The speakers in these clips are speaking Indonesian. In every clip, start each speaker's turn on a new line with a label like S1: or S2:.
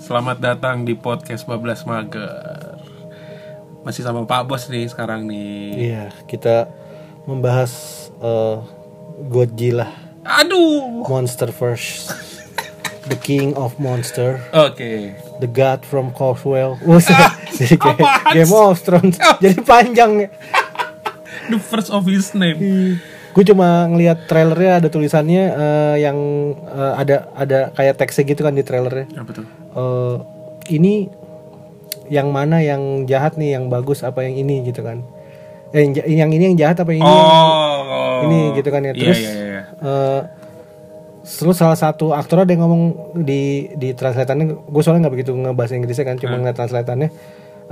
S1: selamat datang di podcast Bablas Mager. Masih sama Pak Bos nih sekarang nih.
S2: Iya, kita membahas eh, Godzilla,
S1: Aduh.
S2: Monster First, The King of Monster,
S1: Oke.
S2: The God from Coswell. Buset, jadi kayak
S1: apaan
S2: Game of Thrones. jadi panjang.
S1: The first of his name.
S2: Gue cuma ngelihat trailernya ada tulisannya eh, yang eh, ada ada kayak teksnya gitu kan di trailernya.
S1: Apa tuh?
S2: Eh, ini yang mana yang jahat nih, yang bagus apa yang ini gitu kan? Eh, yang ja- yang ini yang jahat apa yang ini? yang-
S1: Oh.
S2: ini gitu kan ya
S1: Iya,
S2: terus
S1: iya, iya.
S2: eh, terus salah satu aktor ada yang ngomong di di translatannya gue soalnya nggak begitu ngebahasa Inggrisnya kan
S1: Hmm.
S2: cuma ngeliat translatannya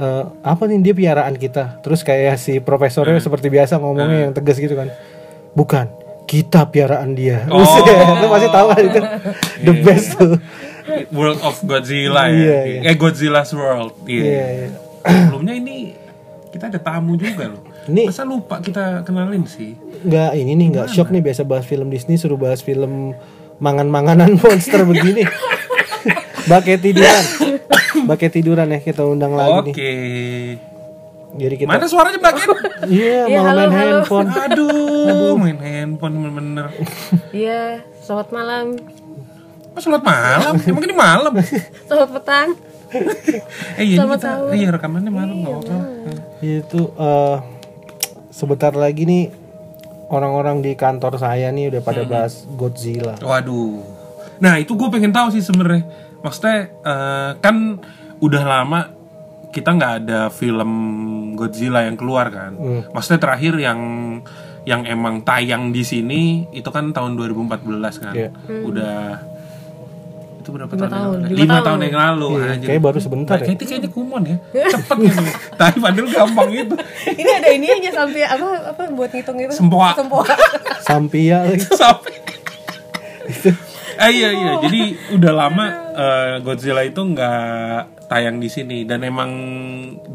S2: eh, apa nih dia piaraan kita terus kayak si profesornya
S1: Hmm.
S2: seperti biasa ngomongnya yang tegas gitu kan bukan kita piaraan dia
S1: Oh. Iya,
S2: Buset, lu pasti tahu kan itu the best tuh
S1: World of Godzilla ya.
S2: Iya,
S1: Eh Godzilla's World. Iya.
S2: Iya, iya.
S1: Sebelumnya ini kita ada tamu juga loh.
S2: Ini-
S1: Masa lupa kita kenalin sih.
S2: nggak ini nih nggak shock nih biasa bahas film Disney suruh bahas film mangan-manganan monster begini pakai tiduran pakai tiduran ya kita undang
S1: Oke.
S2: lagi nih jadi kita
S1: Mana suaranya bagian?
S2: iya
S3: Iya,
S2: malah
S3: halo,
S2: main
S3: halo.
S2: handphone
S1: Aduh, main handphone bener-bener.
S3: Iya, selamat malam,
S1: Kok sholat malam? Emang ini malam?
S3: selamat petang.
S1: Eh iya ini kita, iya rekamannya malam nggak apa-apa.
S2: itu eh, sebentar lagi nih orang-orang di kantor saya nih udah pada bahas Godzilla
S1: Waduh. Nah itu gue pengen tahu sih sebenarnya. Maksudnya eh, kan udah lama kita nggak ada film Godzilla yang keluar kan.
S2: Hmm.
S1: Maksudnya terakhir yang yang emang tayang di sini itu kan tahun 2014 kan.
S2: Iya.
S1: Udah itu berapa tahun,
S3: tahun,
S1: yang lalu?
S3: Hmm. lima
S1: Lima
S3: tahun.
S1: tahun yang lalu. anjir.
S2: kayak baru sebentar
S1: Nah,
S2: Iya, ya
S1: kayaknya, kayaknya kumon ya, cepet gitu. Tapi padahal gampang gitu. itu.
S3: Ini ada ini aja sampai apa apa buat ngitung itu.
S1: Sempoa.
S3: Sempoa.
S2: Sampia lagi
S1: sampai eh, iya iya jadi udah lama eh, Godzilla itu nggak tayang di sini dan emang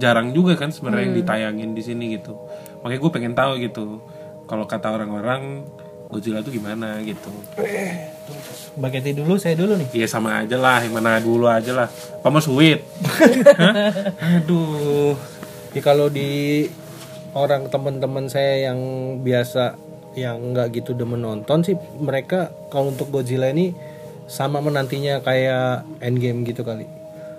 S1: jarang juga kan sebenarnya yang ditayangin di sini gitu makanya gue pengen tahu gitu kalau kata orang-orang Godzilla itu gimana gitu
S2: Baketi dulu saya dulu nih
S1: Iya sama aja lah, yang mana dulu aja lah. Pamo suwit. Hah? Aduh.
S2: Ya kalau di orang teman-teman saya yang biasa yang nggak gitu demen nonton sih mereka kalau untuk Godzilla ini sama menantinya kayak Endgame gitu kali.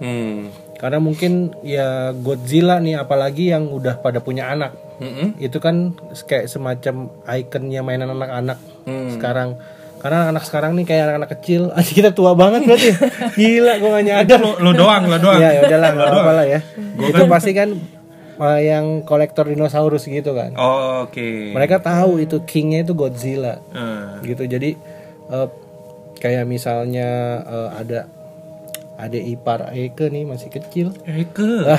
S1: Hmm.
S2: Karena mungkin ya Godzilla nih apalagi yang udah pada punya anak.
S1: Mm-mm.
S2: Itu kan kayak semacam ikonnya mainan anak-anak
S1: Hmm.
S2: sekarang. Karena anak sekarang nih kayak anak-anak kecil. Anjir, kita tua banget berarti. ya. Gila gua gak nyadar.
S1: Lo, lo doang, lo doang.
S2: Ya ya udahlah nggak apa-apa lah ya. Itu pasti kan uh, yang kolektor dinosaurus gitu kan.
S1: Oh, Oke.
S2: Mereka tahu itu kingnya itu Godzilla
S1: Eh,
S2: gitu. Jadi uh, kayak misalnya uh, ada ada ipar Eke nih masih kecil.
S1: Eh. Eke.
S2: Lah,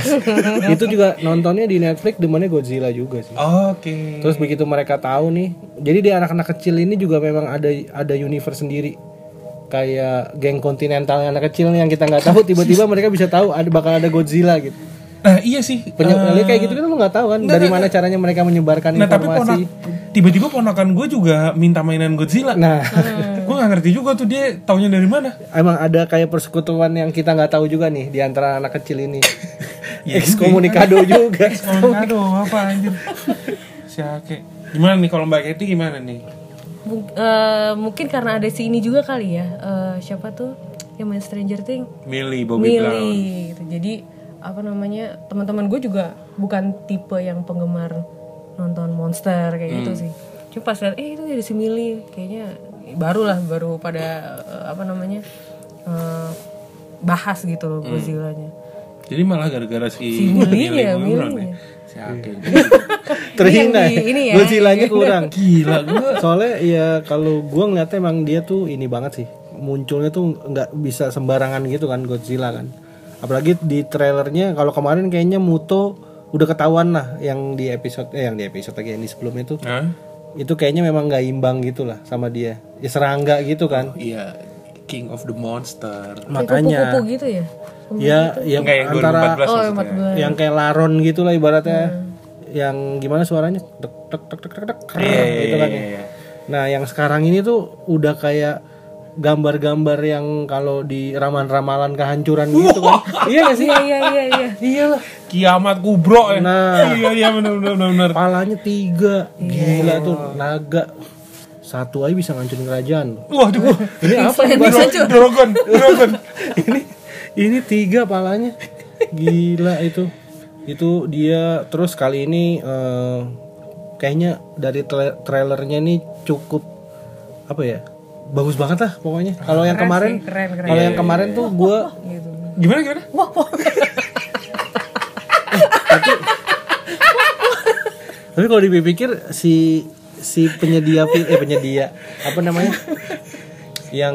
S2: itu juga nontonnya di Netflix demennya Godzilla juga sih.
S1: Oke.
S2: Terus begitu mereka tahu nih, jadi di anak-anak kecil ini juga memang ada ada universe sendiri. Kayak geng kontinental anak kecil nih yang kita nggak tahu, tiba-tiba mereka bisa tahu ada bakal ada Godzilla gitu.
S1: Nah, iya sih.
S2: Penyebabnya kayak gitu kan lu nggak tahu kan dari mana caranya mereka menyebarkan
S1: Nah tapi ponak
S2: informasi.
S1: tiba-tiba ponakan gue juga minta mainan Godzilla.
S2: Nah,
S1: gue gak ngerti juga tuh dia taunya dari mana.
S2: emang ada kayak persekutuan yang kita nggak tahu juga nih di antara anak kecil ini.
S1: Ya Iya.
S2: Ekskomunikado juga.
S1: Oh, aduh apa anjir. Si Ake. Gimana nih kalau Mbak Kety gimana nih?
S3: Mung- eh, mungkin karena ada si ini juga kali ya. Eh, siapa tuh yang main Stranger Things?
S1: Millie Bobby Brown.
S3: Millie. Gitu. Jadi apa namanya teman-teman gue juga bukan tipe yang penggemar nonton monster kayak gitu
S1: Hmm.
S3: sih. Cuma pas lihat, eh itu ada si Millie, kayaknya barulah baru pada eh, apa namanya eh, bahas gitu loh
S1: Hmm.
S3: Godzilla-nya.
S1: Jadi malah gara-gara si,
S3: Si Millie-nya,
S1: Bobby Brown ya.
S3: Millie-nya.
S1: Si Ake.
S2: Terhina.
S3: Ini yang di- ini ya.
S2: Godzillanya kurang.
S1: Gila gue.
S2: Soalnya ya kalau gua ngeliatnya emang dia tuh ini banget sih. Munculnya tuh nggak bisa sembarangan gitu kan Godzilla kan. Apalagi di trailernya kalau kemarin kayaknya Muto udah ketahuan lah yang di episode eh yang di episode lagi yang di sebelumnya tuh
S1: Hah?
S2: itu kayaknya memang nggak imbang gitu lah sama dia ya serangga gitu kan
S1: Iya. King of the Monster.
S3: Kayak
S2: makanya
S3: kupu-kupu gitu ya.
S2: ya yang
S1: Enggak yang
S2: antara
S1: 2014
S3: Oh,
S1: maksudnya.
S3: empat bulan.
S2: yang kayak laron gitu lah ibaratnya yang gimana suaranya tek tek tek tek tek tek krrr,
S1: Iya, iya,
S2: gitu kan
S1: iya,
S2: ya.
S1: iya.
S2: nah yang sekarang ini tuh udah kayak gambar-gambar yang kalau di ramalan-ramalan kehancuran gitu kan. iya gak sih?
S3: iya iya iya iya
S2: Iyalah,
S1: Kiamat kubro ya.
S2: Nah.
S1: Iya iya benar benar benar. benar.
S2: palanya tiga, gila tuh naga. Satu aja bisa ngancurin kerajaan. loh.
S1: Waduh.
S2: Ini apa nih? Bang?
S1: Dro- Drogon, drogon.
S2: ini ini tiga palanya gila itu itu dia terus kali ini eh, kayaknya dari tra- trailernya ini cukup apa ya bagus banget lah pokoknya kalau yang
S3: Keren
S2: kemarin
S3: sih, keren, keren.
S2: kalau yang kemarin tuh gue
S3: gitu
S1: Gimana gimana?
S3: wah wah
S2: tapi kalau dipikir si si penyedia fi- eh penyedia apa namanya yang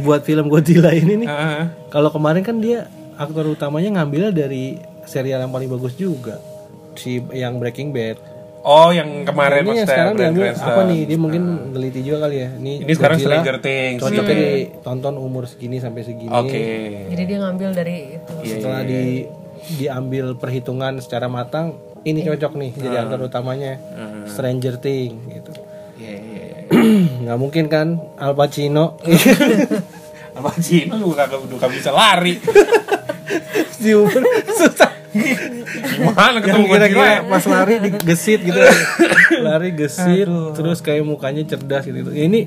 S2: buat film Godzilla ini nih
S1: Heeh.
S2: Kalau kemarin kan dia aktor utamanya ngambilnya dari serial yang paling bagus juga si yang Breaking Bad.
S1: Oh, yang kemarin
S2: Ini
S1: Mas
S2: yang
S1: Ter,
S2: sekarang
S1: Bryan
S2: diambil
S1: Cranston. Nah.
S2: apa nih? Dia mungkin ngeliti juga kali ya. Ini,
S1: Ini sekarang
S2: Godzilla
S1: Stranger Things.
S2: Cocoknya ditonton umur segini sampai segini.
S1: Oke.
S3: jadi dia ngambil dari itu
S1: iya,
S2: Setelah di diambil perhitungan secara matang, ini
S1: Iya.
S2: cocok nih jadi
S1: Ah.
S2: aktor utamanya Stranger Things gitu.
S1: Iya iya iya.
S2: nggak mungkin kan Al Pacino
S1: Apa sih? Lu kagak udah kagak bisa lari.
S2: di umur susah
S1: Gimana ketemu
S2: yang
S1: Godzilla?
S2: kira-kira Eh, pas lari digesit gitu lari gesit terus kayak mukanya cerdas gitu Ya, ini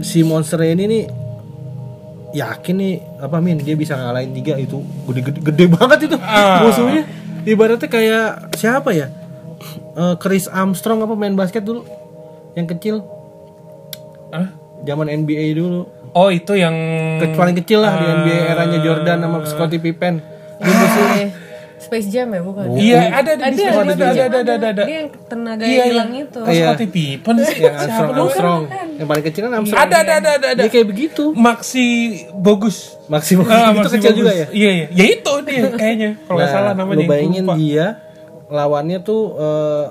S2: si monster ini nih yakin nih apa min dia bisa ngalahin tiga itu gede gede, gede banget itu
S1: Ah.
S2: musuhnya ibaratnya kayak siapa ya Eh, Chris Armstrong apa main basket dulu yang kecil
S1: Hah?
S2: zaman NBA dulu
S1: Oh, itu yang
S2: Ke- paling kecil lah di NBA eranya Jordan sama Scottie Pippen
S3: Dia musuhnya Space Jam ya
S1: Ah.
S3: bukan
S1: Iya, ada ada
S3: ada
S1: di situ, ada ada ada ada ada. ada.
S3: dia yang tenaga
S1: Iya,
S3: hilang
S1: iya.
S3: itu
S1: Kok Scottie Pippen sih?
S2: yang Ya, Armstrong Armstrong yang paling kecil kan Armstrong
S1: Ada ada ada ada ada.
S2: Dia kayak begitu.
S1: Maxi Bogus.
S2: Maksimal
S1: Ah,
S2: itu
S1: Maxi
S2: kecil
S1: Bogus.
S2: juga ya. Nah,
S1: Iya iya. Ya itu dia kayaknya kalau nggak salah namanya.
S2: Lu bayangin
S1: Lupa.
S2: dia lawannya tuh eh,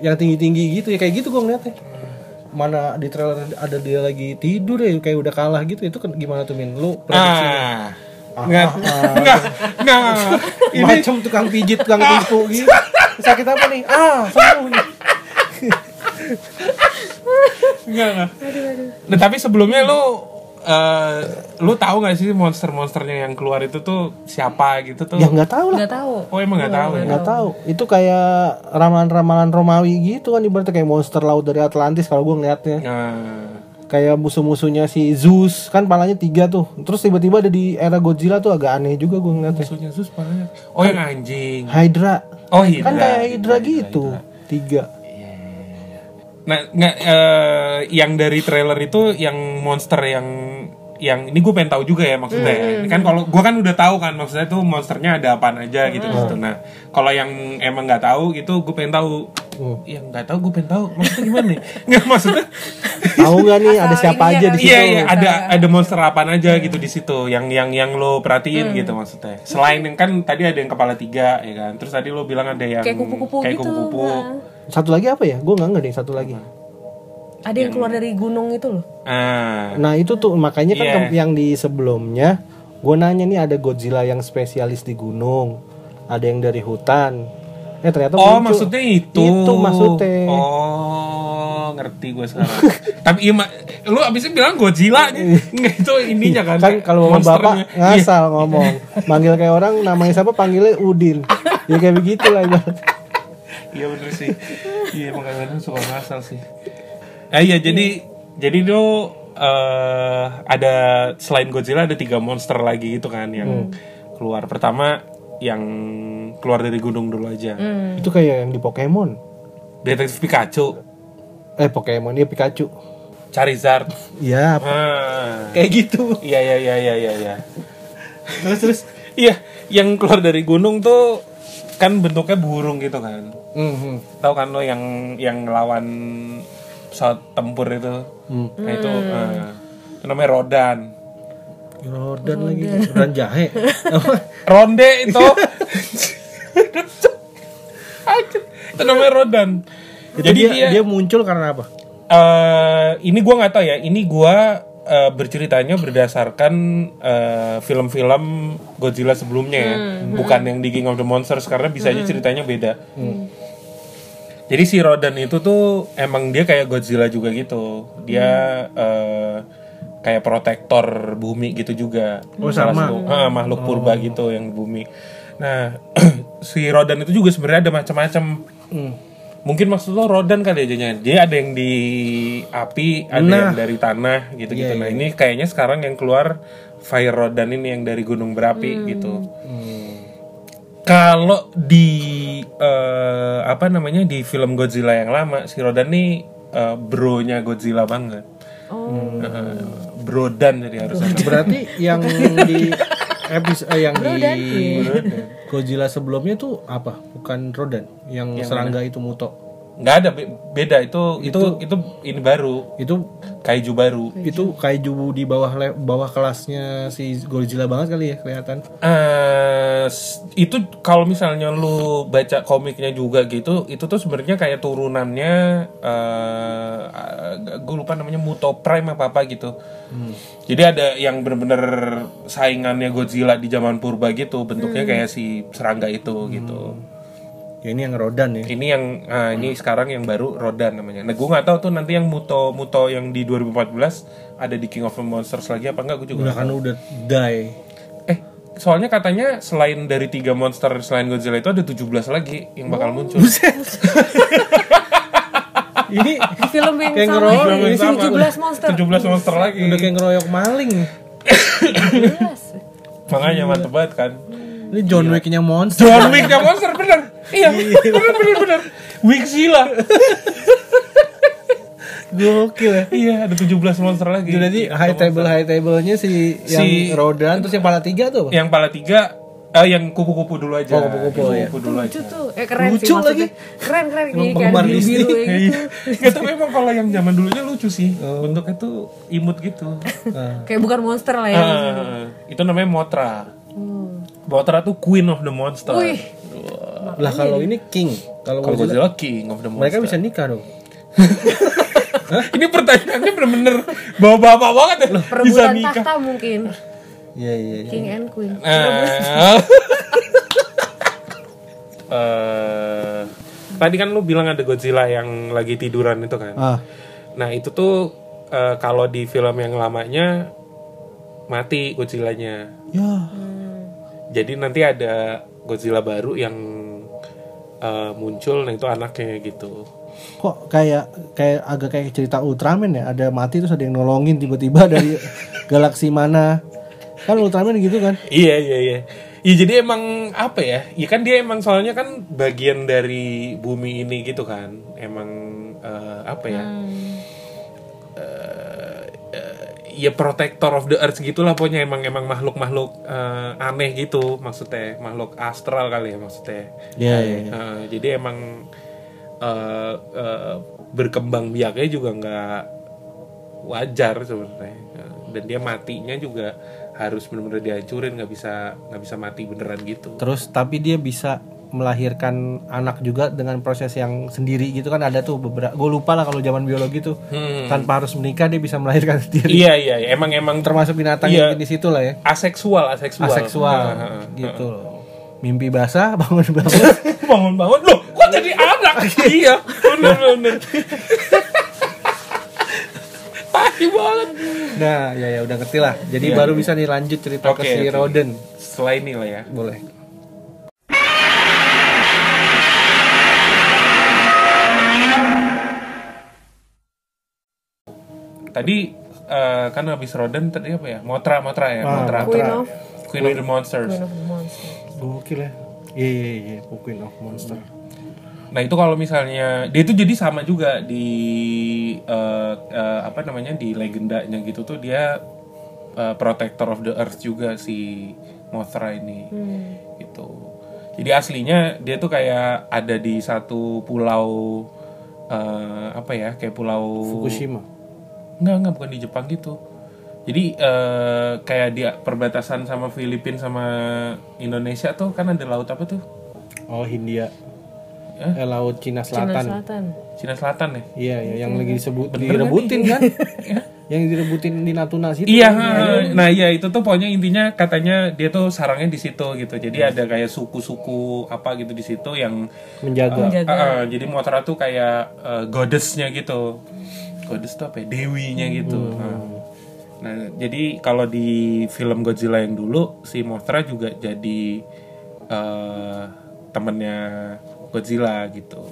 S2: yang tinggi-tinggi gitu ya kayak gitu gua ngeliatnya. Mana di trailer ada dia lagi tidur ya kayak udah kalah gitu. Itu kan gimana tuh Min? Lu prediksinya?
S1: Ah. Enggak.
S2: ah.
S1: Enggak. Enggak. Ini
S2: macam tukang pijit, tukang tipu gitu. Sakit apa nih? Ah, sembuh nih.
S1: enggak enggak. Nah, tapi sebelumnya lu eh, lu tahu nggak sih monster-monsternya yang keluar itu tuh siapa gitu tuh?
S2: Ya nggak tahu lah.
S3: nggak tahu
S1: Oh emang nggak tahu ya?
S2: Nggak tahu. Itu kayak ramalan-ramalan Romawi gitu kan ibaratnya kayak monster laut dari Atlantis kalau gua ngeliatnya.
S1: Nah,
S2: kayak musuh-musuhnya si Zeus kan palanya tiga tuh terus tiba-tiba ada di era Godzilla tuh agak aneh juga gue ngeliatnya
S1: musuhnya Zeus palanya. Oh yang anjing.
S2: Hydra
S1: Oh
S2: kan kayak
S1: Hydra.
S2: Hydra gitu tiga
S1: Nah, nggak eh, yang dari trailer itu yang monster yang yang ini gue pengen tahu juga ya maksudnya ya. Ini kan kalau gue kan udah tahu kan maksudnya tuh monsternya ada apaan aja gitu di situ. Nah, kalau yang emang nggak tahu gitu gue pengen tahu.
S2: Hmm.
S1: Yang nggak tahu gue pengen tahu maksudnya gimana nih? Nggak maksudnya.
S2: tahu nggak nih ada
S3: Asal
S2: siapa
S3: ininya
S2: aja di
S3: kali.
S2: situ
S1: Iya iya ada ada monster apaan aja gitu di situ yang yang yang lo perhatiin
S3: Hmm.
S1: gitu maksudnya. Selain yang kan tadi ada yang kepala tiga ya kan. Terus tadi lo bilang ada yang
S3: Kayak kupu-kupu
S1: kayak
S3: gitu,
S1: kupu-kupu.
S3: nah.
S2: satu lagi apa ya gue nggak ngerti satu lagi
S3: ada yang keluar dari gunung itu loh
S1: Ah.
S2: nah itu tuh makanya kan
S1: Iya.
S2: ke- yang di sebelumnya gue nanya nih ada Godzilla yang spesialis di gunung ada yang dari hutan eh ternyata
S1: Oh
S2: muncul.
S1: maksudnya itu
S2: itu maksudnya
S1: Oh ngerti gue sekarang Tapi iya, Ma- lu abisnya bilang Godzilla aja. Nggak itu ininya kan
S2: kan kalau sama bapak
S1: monsternya. Iya.
S2: ngasal ngomong manggil kayak orang namanya siapa panggilnya Udin ya kayak begitu lah ibarat
S1: Iya bener sih Iya makanya kadang suka ngasal sih Eh iya jadi Jadi itu eh Ada selain Godzilla ada tiga monster lagi gitu kan
S2: Hmm.
S1: Yang keluar Pertama yang keluar dari gunung dulu aja
S2: Hmm. itu kayak yang di Pokemon
S1: Detektif Pikachu
S2: eh Pokemon ya Pikachu
S1: Charizard
S2: ya
S1: Ah.
S2: kayak gitu
S1: Iya iya iya iya iya iya
S2: terus terus
S1: Iya, yang keluar dari gunung tuh kan bentuknya burung gitu kan.
S2: Mhm.
S1: Tahu kan lo yang yang lawan pesawat tempur itu.
S2: Hmm.
S1: Nah itu eh, itu namanya Rodan.
S2: Rodan lagi Rodan jahe
S1: Ronde itu. Aduh, itu namanya Rodan.
S2: jadi dia, dia muncul karena apa
S1: eh ini gua nggak tahu ya. Ini gua eh, berceritanya berdasarkan eh, film-film Godzilla
S2: Hmm.
S1: sebelumnya ya, bukan yang di King of the Monsters karena bisa aja ceritanya beda. Jadi si Rodan itu tuh emang dia kayak Godzilla juga gitu. Dia
S4: Hmm.
S1: eh, kayak protektor bumi gitu juga.
S4: Oh,
S1: Salah
S4: sama. Oh.
S1: satu- ah, makhluk purba gitu yang di bumi. Nah, si Rodan itu juga sebenarnya ada macam-macam.
S4: Hmm.
S1: Mungkin maksud lo Rodan kali aja Dia ada yang di api, ada
S4: Nah.
S1: yang dari tanah gitu-gitu.
S4: Iya,
S1: Nah, ini kayaknya sekarang yang keluar Fire Rodan ini yang dari gunung berapi
S4: Hmm.
S1: gitu kalau di eh, apa namanya di film Godzilla yang lama si Rodan nih eh, bronya Godzilla banget
S3: Oh,
S1: Eh, brodan jadi harusnya
S2: Berarti yang di episode eh, yang
S3: Rodan,
S2: di Godzilla sebelumnya tuh apa? Bukan Rodan, yang, serangga itu Muto.
S1: nggak ada be- beda itu itu itu ini baru
S2: Itu
S1: kaiju baru
S2: itu kaiju di bawah le- bawah kelasnya si Godzilla banget kali ya kelihatan.
S1: eh s- itu kalau misalnya lu baca komiknya juga gitu itu tuh sebenarnya kayak turunannya eh gue lupa namanya Muto Prime apa apa gitu jadi ada yang bener-bener saingannya Godzilla di zaman purba gitu bentuknya kayak si serangga itu gitu
S2: Ya ini yang Rodan ya.
S1: ini yang ah, ini sekarang yang baru Rodan namanya nah gue nggak tahu tuh nanti yang Muto Muto yang di 2014 ada di King of the Monsters lagi apa enggak gue juga
S2: Udah kan udah die.
S1: Eh, soalnya katanya selain dari tiga monster selain Godzilla itu ada 17 lagi yang bakal muncul.
S2: Ini
S3: di film yang
S2: Kayak
S3: sama
S2: ngerolong
S1: Yang
S3: ini
S1: sama.
S3: 17 iya, monster.
S1: 17 monster lagi.
S2: udah kayak ngeroyok maling.
S3: 17.
S1: Makanya mantep banget kan.
S2: Ini John Wick-nya monster.
S1: John Wick yang monster bener. Iya, bener bener bener. Wickzilla.
S2: Gokil ya.
S1: iya, ada 17 monster lagi.
S2: Itu Jadi high table high table-nya si,
S1: Iya, Si- Iya,
S2: yang Rodan terus yang pala tiga tuh apa?
S1: yang pala tiga eh, yang kupu-kupu dulu aja.
S2: Oh, kupu-kupu,
S1: Yang
S2: ya.
S1: dulu aja.
S3: Lucu tuh. Eh keren
S2: Lucu
S3: sih maksudnya.
S2: lagi.
S3: Keren keren
S2: Emang
S3: Ini kayak
S2: penggemar
S3: biru
S2: Disney.
S3: biru ya gitu.
S1: Iya, tapi emang kalau yang zaman dulunya lucu sih. Bentuknya tuh imut gitu.
S3: Kayak bukan monster lah ya.
S1: Ah, itu namanya Motra. Motra tuh Queen of the Monster.
S3: Wih.
S2: Lah kalau ini king, kalau
S1: Kalau Godzilla
S2: Godzilla,
S1: King of the Monster.
S2: mereka bisa nikah dong.
S1: Ini pertanyaannya bener-bener bapak-bapak banget ya. Bisa
S3: Perebutan
S1: nikah.
S3: tahta mungkin.
S2: Iya iya. iya.
S3: King and Queen.
S1: Eh, eh, tadi kan lu bilang ada Godzilla yang lagi tiduran itu kan.
S2: Ah.
S1: Nah itu tuh eh, kalau di film yang lamanya mati Godzillanya.
S2: Ya.
S1: Jadi nanti ada Godzilla baru yang eh, muncul, nah itu anaknya gitu.
S2: Kok kayak kayak agak kayak cerita Ultraman ya, ada mati terus ada yang nolongin tiba-tiba dari galaksi mana. Kan Ultraman gitu kan.
S1: Iya iya iya. Ya jadi emang apa ya? Ya kan dia emang soalnya kan bagian dari bumi ini gitu kan. Emang eh, apa ya? Eh, eh, ya protector of the earth gitulah pokoknya emang emang makhluk-makhluk eh, aneh gitu maksudnya makhluk astral kali ya maksudnya.
S2: Iya iya.
S1: Eh, jadi emang eh, eh, berkembang biaknya juga nggak wajar sebenarnya Eh, dan dia matinya juga harus benar-benar dihancurin nggak bisa nggak bisa mati beneran gitu
S2: Terus tapi dia bisa melahirkan anak juga dengan proses yang sendiri gitu kan ada tuh beberapa gue lupa lah kalau zaman biologi tuh
S1: Hmm.
S2: tanpa harus menikah dia bisa melahirkan sendiri
S1: iya iya iya. emang emang ter-
S2: termasuk binatang
S1: Iya.
S2: yang di situ lah ya
S1: aseksual aseksual
S2: aseksual gitu loh. Mimpi basah bangun-bangun
S1: bangun-bangun loh kok jadi anak iya bener-bener Pasti banget
S2: Nah, ya ya udah ngerti lah. Jadi baru bisa nih lanjut cerita
S1: Iya, Oke,
S2: ke si
S1: oke.
S2: Roden.
S1: setelah ini lah ya
S2: Boleh.
S1: tadi eh, kan habis Roden tadi apa ya Motra Motra ya Motra
S3: Queen of
S1: Queen of the Monsters
S3: Queen of the Monster.
S2: Gokil ya. Iya iya iya, Queen of Monster.
S1: Nah itu kalau misalnya dia itu jadi sama juga di eh, eh, apa namanya di legendanya gitu tuh dia eh, protector of the earth juga si Mothra ini
S3: Hmm.
S1: gitu. Jadi aslinya dia tuh kayak ada di satu pulau eh, apa ya kayak pulau
S2: Fukushima.
S1: Enggak, enggak bukan di Jepang gitu. Jadi eh, kayak dia perbatasan sama Filipina sama Indonesia tuh kan ada laut apa tuh?
S2: Oh, Hindia. Eh, laut Cina
S3: Cina
S2: Selatan.
S3: Selatan.
S1: Cina Selatan ya.
S2: Iya, iya, yang lagi disebut
S1: Bener
S2: direbutin kan?
S1: Ya.
S2: yang direbutin di Natuna situ.
S1: Iya, nah iya itu tuh pokoknya intinya katanya dia tuh sarangnya di situ gitu. Jadi ada kayak suku-suku apa gitu di situ yang eh,
S2: Menjaga.
S3: Menjaga.
S1: eh, jadi Mothra tuh kayak eh, goddessnya gitu. Goddess tuh apa? Ya? Dewinya gitu. Nah. Nah, jadi kalau di film Godzilla yang dulu si Mothra juga jadi eh, temennya Godzilla gitu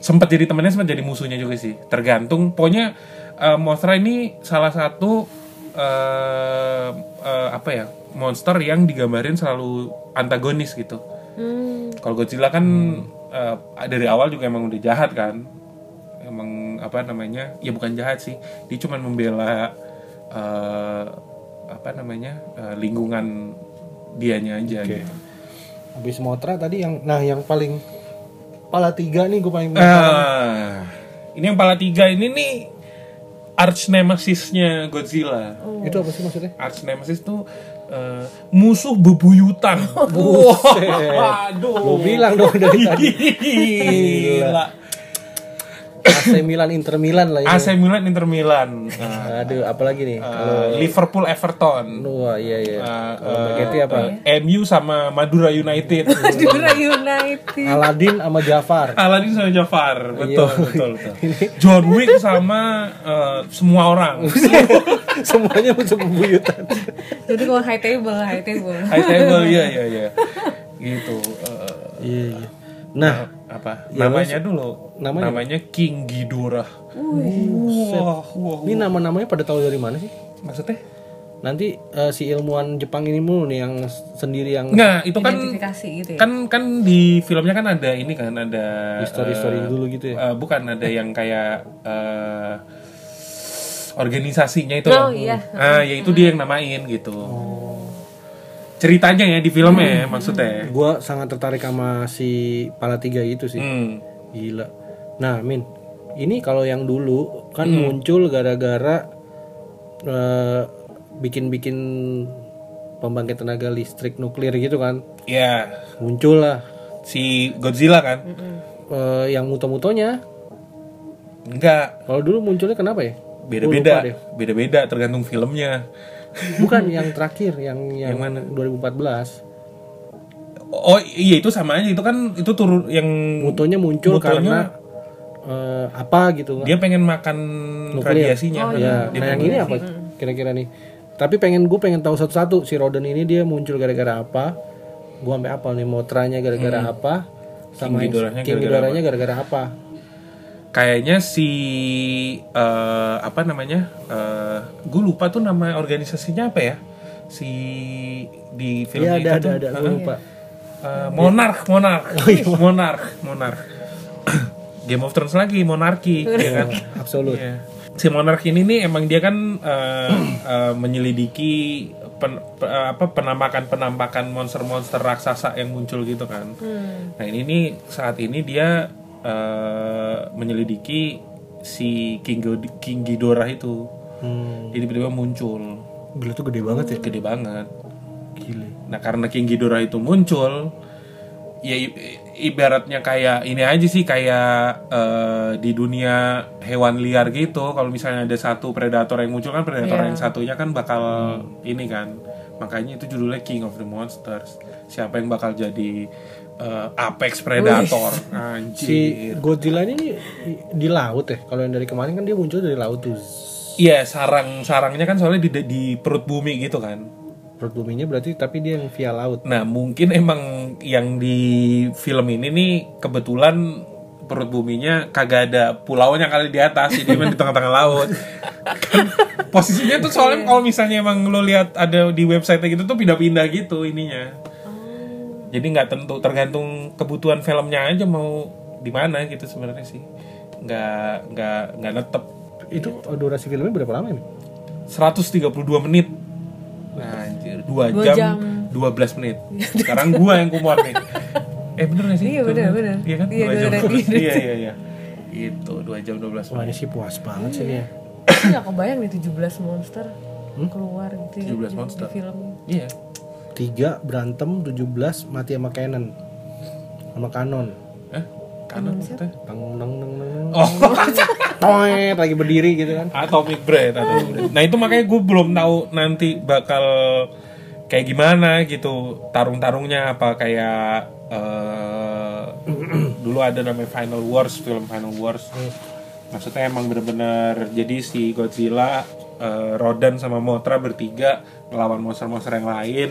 S1: sempat jadi temennya sempat jadi musuhnya juga sih tergantung pokoknya eh, Mothra ini salah satu eh, eh, apa ya monster yang digambarin selalu antagonis gitu
S3: Hmm.
S1: kalau Godzilla kan eh, dari awal juga emang udah jahat kan emang apa namanya ya bukan jahat sih dia cuma membela eh, apa namanya eh, lingkungan dianya aja gitu.
S2: Habis Motra tadi yang nah yang paling pala tiga nih gue paling
S1: Eh. Ah, ini yang pala tiga ini nih arch nemesisnya Godzilla.
S2: itu apa sih maksudnya?
S1: Arch nemesis tuh eh, musuh bebuyutan. Wah,
S2: Gue
S1: aduh.
S2: bilang dong dari tadi
S1: Gila.
S2: AC Milan Inter Milan lah ya.
S1: AC Milan Inter Milan. Nah,
S2: Aduh, apalagi nih?
S1: eh, Liverpool Everton.
S2: Wah, iya iya.
S1: Eh,
S2: Kalau
S1: eh,
S2: Bagetti apa?
S1: eh, MU sama Madura United.
S3: Madura United.
S2: Aladin sama Jafar.
S1: Aladin sama Jafar, Iya, betul, betul, betul. John Wick sama eh, semua orang.
S2: Semuanya musuh bebuyutan.
S3: Jadi kalau high table, high table.
S1: High table, iya, iya, iya. Gitu. eh,
S2: Iya iya. Nah,
S1: apa namanya dulu Iya, namanya, King Ghidorah wah wah
S2: ini nama-namanya pada tahu dari mana sih?
S1: maksudnya
S2: Nanti eh, si ilmuwan Jepang ini mulu nih yang sendiri yang
S1: nggak itu kan
S3: Identifikasi gitu ya.
S1: kan kan di filmnya kan ada ini kan ada
S2: story-story
S1: eh,
S2: dulu gitu ya.
S1: eh, bukan ada yang kayak eh, organisasinya itu loh.
S3: Oh, iya.
S1: ah yaitu dia yang namain gitu
S2: Oh.
S1: ceritanya ya di
S2: Hmm.
S1: filmnya ya, maksudnya
S2: Gua sangat tertarik sama si pala tiga itu sih.
S1: Hmm.
S2: Gila. Nah, Min, ini kalau yang dulu kan
S1: Hmm.
S2: muncul gara-gara eh, bikin-bikin pembangkit tenaga listrik nuklir gitu kan.
S1: ya
S2: Muncul lah
S1: si Godzilla kan
S2: eh, yang muto-mutonya.
S1: enggak
S2: Kalau dulu munculnya kenapa ya?
S1: beda-beda beda-beda tergantung filmnya
S2: Bukan yang terakhir, yang yang, 2014.
S1: Oh iya itu sama aja itu kan itu turun yang
S2: Mutonya muncul
S1: Mutonya-
S2: karena eh, apa gitu
S1: dia pengen makan
S3: Oh,
S1: radiasinya.
S3: iya.
S2: Ya, nah yang ini apa
S1: Hmm.
S2: kira-kira nih? Tapi pengen gue pengen tahu satu-satu si Roden ini dia muncul gara-gara apa? Gue sampai apa nih motranya gara-gara apa? Sama
S1: Hmm. King
S2: yang-
S1: Ghidorahnya
S2: King
S1: gara-gara
S2: Ghidorahnya gara-gara apa?
S1: Kayaknya si eh, apa namanya? eh gue lupa tuh nama organisasinya apa ya? Si di film
S2: Iya
S1: itu
S2: ada ada
S1: tuh,
S2: ada
S1: eh,
S2: gue lupa. Oh, iya.
S1: eh, Monarch, Monarch, Monarch, Monarch. Game of Thrones lagi monarki ya kan?
S2: Absolut.
S1: Iya. Si monark ini nih emang dia kan eh, eh, menyelidiki pen- pe- eh, apa penampakan penampakan monster-monster raksasa yang muncul gitu kan. Nah ini nih saat ini dia eh, menyelidiki si King, Ghido- King Ghidorah itu.
S2: Hmm.
S1: Jadi tiba-tiba muncul,
S2: Gila tuh gede banget ya.
S1: gede banget.
S2: Gila.
S1: Nah karena King Ghidorah itu muncul, ya i- i- ibaratnya kayak ini aja sih kayak eh, di dunia hewan liar gitu. Kalau misalnya ada satu predator yang muncul kan predator yang satunya kan bakal ini kan. Makanya itu judulnya King of the Monsters. Siapa yang bakal jadi eh, apex predator?
S2: Si
S1: Anjir.
S2: Godzilla ini di, di laut ya. Kalau yang dari kemarin kan dia muncul dari laut tuh.
S1: Iya sarang-sarangnya kan soalnya di, di perut bumi gitu kan.
S2: Perut buminya berarti tapi dia yang via laut.
S1: Nah mungkin emang yang di film ini nih kebetulan perut buminya kagak ada pulaunya kali di atas jadi emang di tengah-tengah laut Kan posisinya tuh soalnya kalau misalnya emang lo lihat ada di website gitu tuh pindah-pindah gitu ininya jadi nggak tentu tergantung kebutuhan filmnya aja mau di mana gitu sebenarnya sih nggak nggak nggak netep
S2: Itu
S1: Iya.
S2: oh, durasi filmnya berapa lama ini?
S1: 132 menit nah, anjir 2
S3: Dua
S1: jam,
S3: jam.
S1: 12 menit sekarang gua yang kumor nih eh bener gak sih
S3: Iya,
S1: Dua
S3: bener,
S1: menit.
S3: bener.
S1: iya kan
S3: Iya,
S1: 2
S3: dua
S1: jam
S3: tadi.
S1: 12 menit. iya iya iya itu 2 jam 12
S2: Wah
S1: menit
S2: ini sih puas banget sih dia.
S3: Aku nggak kebayang nih 17 monster keluar gitu
S1: 17
S3: ya di-
S1: Hmm? monster.
S3: di film.
S1: iya
S2: Tiga berantem 17 mati sama Canon. Sama Canon.
S1: Hah? Eh? kanan maksudnya
S2: Tang neng neng neng neng.
S1: Oh,
S2: toet lagi berdiri gitu kan
S1: Atomic Bread, Atomic Bread. Nah itu makanya gue belum tahu nanti bakal kayak gimana gitu tarung-tarungnya apa kayak eh, dulu ada namanya Final Wars film Final Wars. Maksudnya emang bener-bener jadi si Godzilla, eh, Rodan sama Mothra bertiga melawan monster-monster yang lain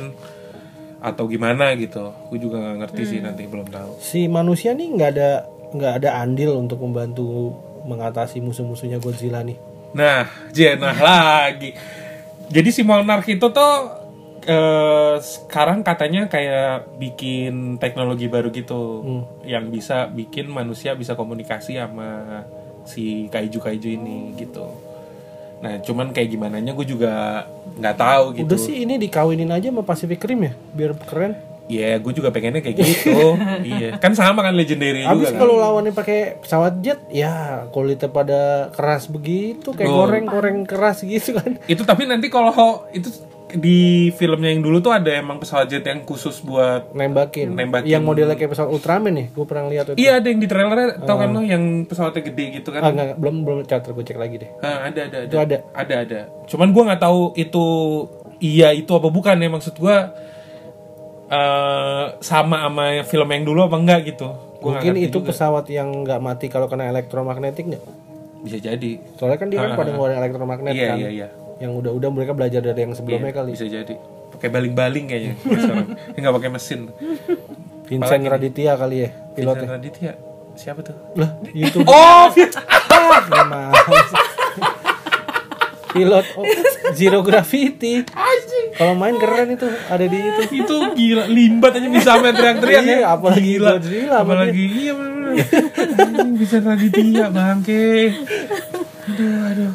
S1: atau gimana gitu. Gue juga nggak ngerti sih nanti belum tahu.
S2: si manusia nih nggak ada nggak ada andil untuk membantu mengatasi musuh-musuhnya Godzilla nih
S1: Nah, Jenah lagi. Jadi si Monarch itu tuh eh, sekarang katanya kayak bikin teknologi baru gitu
S2: Hmm.
S1: yang bisa bikin manusia bisa komunikasi sama si kaiju-kaiju ini gitu. Nah, cuman kayak gimana nya gue juga nggak tahu gitu.
S2: udah sih ini dikawinin aja sama Pacific Rim ya biar keren
S1: Iya, gue juga pengennya kayak gitu. iya, kan sama kan legendary juga.
S2: Abis
S1: kan?
S2: kalau lawannya pakai pesawat jet, ya kulitnya pada keras begitu, kayak
S1: Betul.
S2: goreng-goreng keras gitu kan.
S1: itu tapi nanti kalau itu di filmnya yang dulu tuh ada emang pesawat jet yang khusus buat
S2: Nembakin.
S1: Nembakin.
S2: Yang modelnya kayak pesawat Ultraman nih, gue pernah lihat itu.
S1: Iya ada yang di trailernya tau kan lo yang pesawatnya gede gitu
S2: Ah,
S1: kan?
S2: enggak, enggak, belum belum charter gue cek lagi deh.
S1: Ah, ada ada ada.
S2: Itu ada.
S1: Ada ada. Cuman gua nggak tahu itu iya itu apa bukan ya maksud gua eh sama sama film yang dulu apa enggak gitu. Gua nggak
S2: Mungkin
S1: ngerti
S2: itu
S1: juga.
S2: pesawat yang nggak mati kalau kena elektromagnetik nggak?
S1: bisa jadi.
S2: Soalnya kan dia kan pada ngoreng
S1: Ah,
S2: elektromagnet
S1: Iya
S2: kan.
S1: iya iya.
S2: Yang udah-udah mereka belajar dari yang sebelumnya kali.
S1: Bisa jadi. Pakai baling-baling kayaknya. sekarang. Nggak pakai mesin.
S2: Vincent Raditya kali ya pilotnya.
S1: Vincent Raditya siapa tuh?
S2: Lah, Ah, itu
S1: Oh,
S2: memang. Pilot oh, Zero Gravity. Kalau main keren itu ada di itu.
S1: itu gila limbat aja bisa sampai teriak-teriak ya
S2: Iya, apalagi
S1: gila
S2: Godzilla,
S1: apalagi iya bener-bener. Anjing, bisa Raditya bangke aduh aduh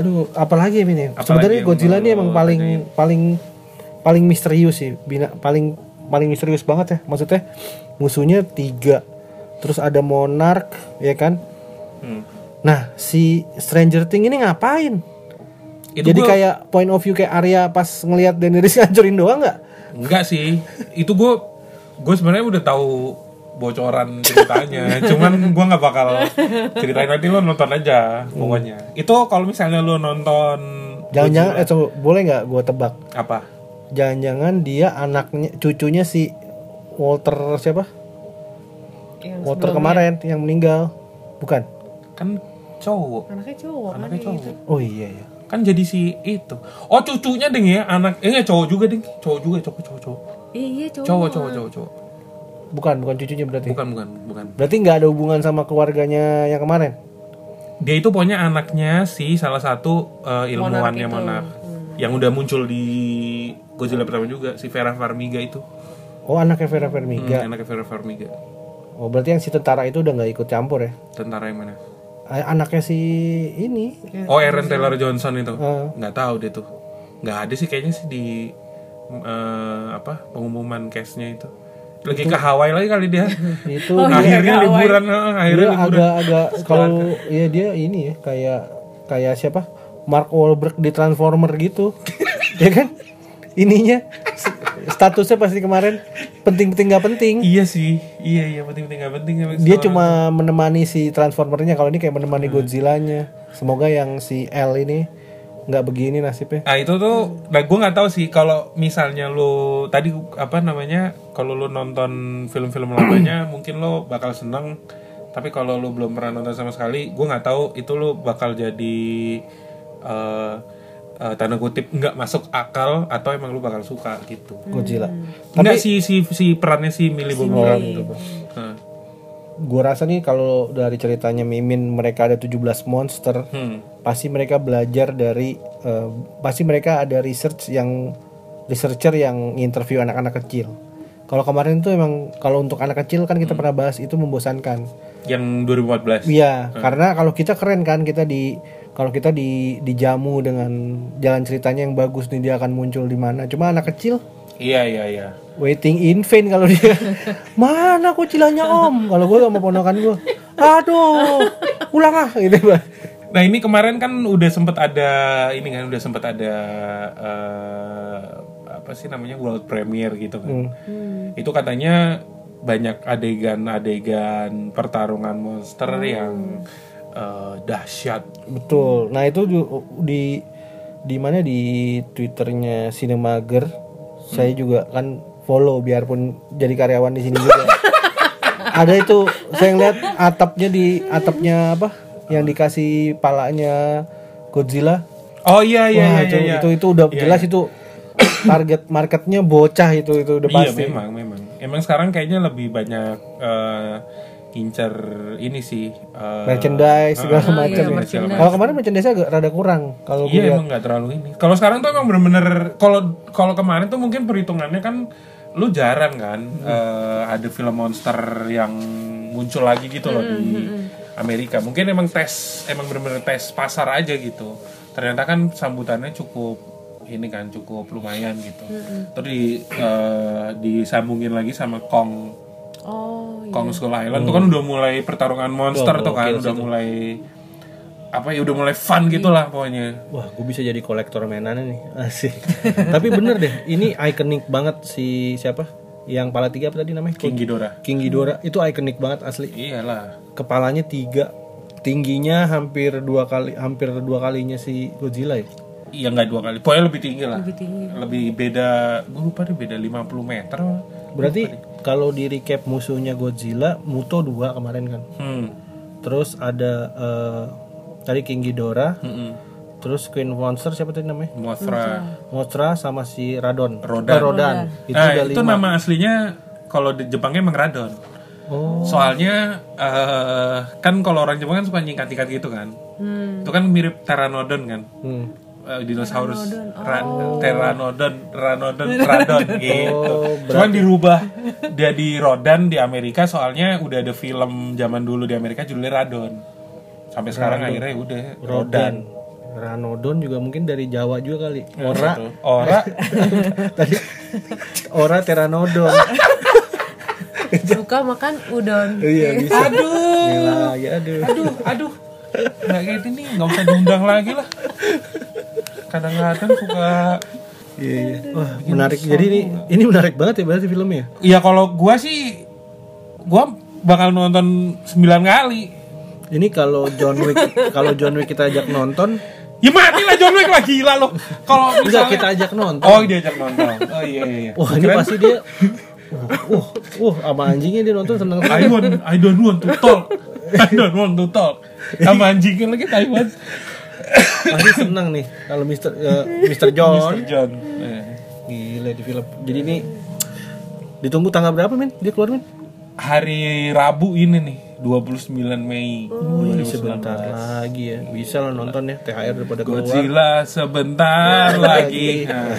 S2: Aduh, apalagi ya, Min ya?
S1: Apalagi
S2: Sebenarnya
S1: yang
S2: Godzilla ini
S1: mau
S2: emang paling paling paling misterius sih, bina, paling paling misterius banget ya. Maksudnya musuhnya tiga, terus ada Monarch, ya kan?
S1: Hmm.
S2: Nah, si Stranger Thing ini ngapain?
S1: Itu
S2: Jadi
S1: gua-
S2: kayak point of view kayak Arya pas ngelihat Daenerys ngancurin doang nggak?
S1: enggak sih itu gue gue sebenarnya udah tahu bocoran ceritanya cuman gue nggak bakal ceritain nanti lo nonton aja pokoknya itu kalau misalnya lo nonton
S2: Hmm. Jangan-jangan, eh, coba, boleh nggak gue tebak?
S1: apa
S2: Jangan-jangan dia anaknya, cucunya si Walter siapa?
S3: Yang
S2: Walter
S3: sebelumnya.
S2: kemarin yang meninggal, bukan?
S1: kan cowok
S3: Anaknya cowok kan
S1: Anaknya
S3: gitu.
S2: Oh iya ya.
S1: kan jadi si itu oh cucunya ding ya anak eh nggak, cowok juga ding cowok juga cowok cowok cowok
S3: Iya cowok.
S1: cowok cowok cowok, cowok.
S2: Bukan, bukan cucunya berarti.
S1: bukan bukan bukan
S2: Berarti nggak ada hubungan sama keluarganya yang kemarin.
S1: dia itu pokoknya anaknya si salah satu uh, ilmuwannya
S3: Monarch itu.
S1: monarch yang udah muncul di Godzilla pertama juga si Vera Farmiga itu
S2: Oh, anaknya Vera
S1: hmm,
S2: Vermiga.
S1: anaknya Vera Farmiga
S2: Oh, berarti yang si tentara itu udah nggak ikut campur ya?
S1: tentara yang mana
S2: A- Anaknya si ini.
S1: oh Aaron Taylor Johnson itu
S2: Eh.
S1: nggak tahu dia tuh nggak ada sih kayaknya sih di eh, apa pengumuman case nya itu lagi ke Hawaii lagi kali dia
S2: Itu
S1: akhirnya liburan eh, akhirnya
S2: dia
S1: liburan
S2: agak-agak kalau ya dia ini ya kayak kayak siapa? Mark Wahlberg di Transformer gitu. ya kan? Ininya s- statusnya pasti kemarin penting-penting nggak penting.
S1: iya sih iya iya penting penting nggak penting emang seorang-
S2: Dia cuma menemani si Transformernya kalau ini kayak menemani Godzilla-nya. Semoga yang si L ini nggak begini nasibnya.
S1: Nah itu tuh, nah gue nggak tahu sih kalau misalnya lo tadi apa namanya, kalau lo nonton film-film lamanya mungkin lo bakal seneng. Tapi kalau lo belum pernah nonton sama sekali, gue nggak tahu itu lo bakal jadi eh eh, tanda kutip nggak masuk akal atau emang lo bakal suka gitu.
S2: Godzilla.
S1: Nggak si si si perannya si Millie Bobby Brown itu. Nah, Heeh.
S2: Gue rasa nih kalau dari ceritanya Mimin mereka ada 17 monster,
S1: Hmm.
S2: pasti mereka belajar dari eh, pasti mereka ada research yang researcher yang interview anak-anak kecil. Kalau kemarin tuh emang kalau untuk anak kecil kan kita pernah bahas itu membosankan.
S1: Yang 2014.
S2: Iya, karena kalau kita keren kan kita di kalau kita di dijamu dengan jalan ceritanya yang bagus nih dia akan muncul di mana. Cuma anak kecil
S1: Iya iya iya.
S2: waiting in vain kalau dia mana kucilannya om kalau gue sama ponakan gue aduh pulang ah gitu Bang.
S1: Nah ini kemarin kan udah sempet ada ini kan udah sempet ada
S4: Hmm.
S1: eh, apa sih namanya world premiere gitu kan. Itu katanya banyak adegan-adegan pertarungan monster yang eh, dahsyat.
S4: Betul. Nah itu ju- di di mana di twitternya Cinemager, saya
S1: Hmm.
S4: juga kan follow biarpun jadi karyawan di sini juga. Ada itu saya ngeliat atapnya di atapnya apa yang dikasih palanya Godzilla.
S1: Oh iya
S4: Wah,
S1: iya iya,
S4: itu,
S1: iya, iya.
S4: itu itu udah jelas itu target marketnya bocah itu itu udah
S1: Iya
S4: pasti.
S1: memang memang. Emang sekarang kayaknya lebih banyak eh, incer ini sih eh,
S4: merchandise segala
S1: eh,
S4: macam.
S1: iya,
S4: ya.
S1: segala
S4: Kalau kemarin merchandise agak rada kurang kalau gue
S1: Iya
S4: lihat.
S1: emang nggak terlalu ini. Kalau sekarang tuh emang bener-bener kalau kalau kemarin tuh mungkin perhitungannya kan lu jarang kan
S4: Hmm.
S1: eh, ada film monster yang muncul lagi gitu loh di Amerika. Mungkin emang tes emang bener-bener tes pasar aja gitu. Ternyata kan sambutannya cukup ini kan cukup lumayan gitu. Terus di eh, disambungin lagi sama Kong
S3: Oh,
S1: Kong Skull Island tuh kan
S4: Hmm.
S1: udah mulai pertarungan monster tuh kan udah mulai apa ya udah mulai fun gitulah pokoknya.
S2: Wah, gue bisa jadi kolektor mainannya nih. Asik. Tapi bener deh, ini ikonik banget si siapa? Yang kepala tiga apa tadi namanya?
S1: King
S3: gitu.
S1: Ghidorah.
S2: King Ghidorah. Itu ikonik banget asli.
S1: Iyalah.
S2: Kepalanya tiga, tingginya hampir dua kali, hampir dua kalinya si Godzilla ya.
S1: Iya nggak dua kali. Pokoknya lebih tinggi lah.
S3: lebih tinggi.
S1: Lebih beda. Gue lupa deh beda 50 meter.
S2: Berarti kalau di recap musuhnya Godzilla, Muto dua kemarin kan.
S1: Hmm.
S2: Terus ada eh, tadi King Ghidorah,
S1: Mm-mm.
S2: terus Queen Monster siapa tadi namanya?
S1: Mothra.
S2: Mothra sama si Radon.
S1: Rodan.
S2: Eh, Rodan. Itu
S1: Nah,
S2: udah
S1: itu
S2: lima.
S1: nama aslinya kalau di Jepangnya emang Radon.
S2: Oh.
S1: Soalnya eh, kan kalau orang Jepang kan suka nyingkat-nyingkat gitu kan.
S3: Hmm.
S1: Itu kan mirip Pteranodon kan.
S2: Hmm.
S1: Eh, dinosaurus Ra- Pteranodon, Ranodon, Radon
S2: Oh,
S1: gitu. Cuman dirubah jadi Rodan di Amerika soalnya udah ada film zaman dulu di Amerika judulnya Radon. Sampai sekarang akhirnya udah Rodan.
S2: Rodan. Ranodon juga mungkin dari Jawa juga kali. Ora.
S1: gitu. Ora
S2: Tadi Ora Teranodon.
S3: Suka makan udon.
S2: iya bisa.
S1: aduh
S2: Gila, ya aduh.
S1: aduh aduh nggak kayak gini nggak usah diundang lagi lah kadang-kadang suka
S2: Iya, iya. Wah, menarik. Jadi ini ini menarik banget ya berarti filmnya.
S1: ya kalau gua sih gua bakal nonton 9 kali
S2: Ini kalau John Wick kalau John Wick kita ajak nonton,
S1: ya mati lah John Wick lah gila loh kalau
S2: enggak
S1: misalnya
S2: kita ajak nonton.
S1: oh diajak nonton oh iya iya, iya.
S2: Wah, ini pasti dia Wah, wah, sama anjingnya dia nonton seneng
S1: I don't, I don't want to talk I don't want to talk sama anjingnya lagi Taiwan
S2: pasti seneng nih kalau Mister eh, Mister
S1: Mr.
S2: John.
S1: John Eh.
S2: Gila di film. Jadi ini ditunggu tanggal berapa, Min? Dia keluar, Min?
S1: hari Rabu ini nih 29 Mei
S2: Wih, Iya, sebentar lagi ya. Bisa lo nonton ya THR daripada keluar.
S1: Godzilla sebentar lagi. Nah,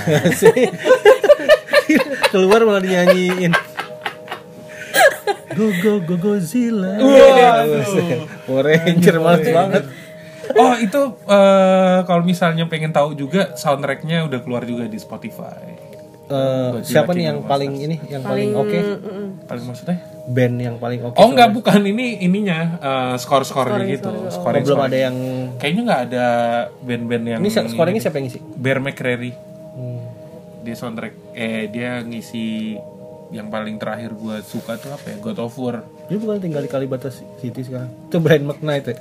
S2: keluar malah dinyanyiin. Go go go Godzilla. Power Ranger iya, males banget.
S1: Oh itu eh, kalau misalnya pengen tahu juga soundtracknya udah keluar juga di Spotify.
S2: Eh, siapa nih yang paling ini yang paling oke?
S1: Paling maksudnya?
S2: Band yang paling oke.
S1: Oh nggak bukan ini ininya eh, skor-skornya gitu. Skornya
S2: Oh, Belum ada yang
S1: Kayaknya nggak ada band-band yang
S2: ini se- scoringnya siapa yang ngisi?
S1: Bear McCreary.
S2: Hmm.
S1: Dia soundtrack eh dia ngisi yang paling terakhir gua suka tuh apa ya? God of War.
S2: Dia bukan tinggal di Kalibata City sekarang. Itu Brian McKnight ya.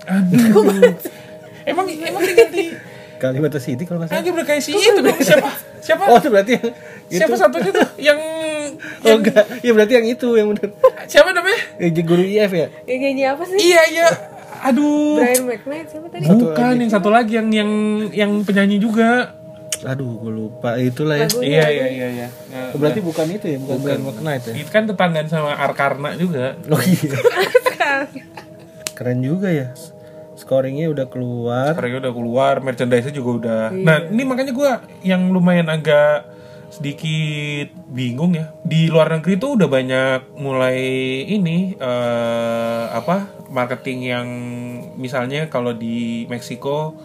S1: Emang emang diganti
S2: Kalibata City kalau nggak salah.
S1: Lagi udah kayak si itu dong siapa? Siapa?
S2: Oh, itu berarti yang
S1: siapa satunya tuh yang
S2: Oh enggak, ya berarti yang itu yang benar.
S1: siapa namanya?
S2: Eh, guru IF ya?
S3: Yang nyanyi apa sih?
S1: Iya iya. Aduh.
S3: Brian McKnight siapa tadi?
S1: Bukan yang satu lagi yang yang yang penyanyi juga.
S2: Aduh, gue lupa. Itulah ya.
S1: Iya iya iya iya. Ya,
S2: Berarti bukan itu ya, bukan, Brian McKnight ya.
S1: Itu kan tetanggaan sama Arkarna juga.
S2: Oh iya. Keren juga ya. Scoringnya udah keluar.
S1: Mereka udah keluar, merchandise-nya juga udah. Nah, ini makanya gua yang lumayan agak sedikit bingung ya. Di luar negeri tuh udah banyak mulai ini eh apa marketing yang misalnya kalau di Meksiko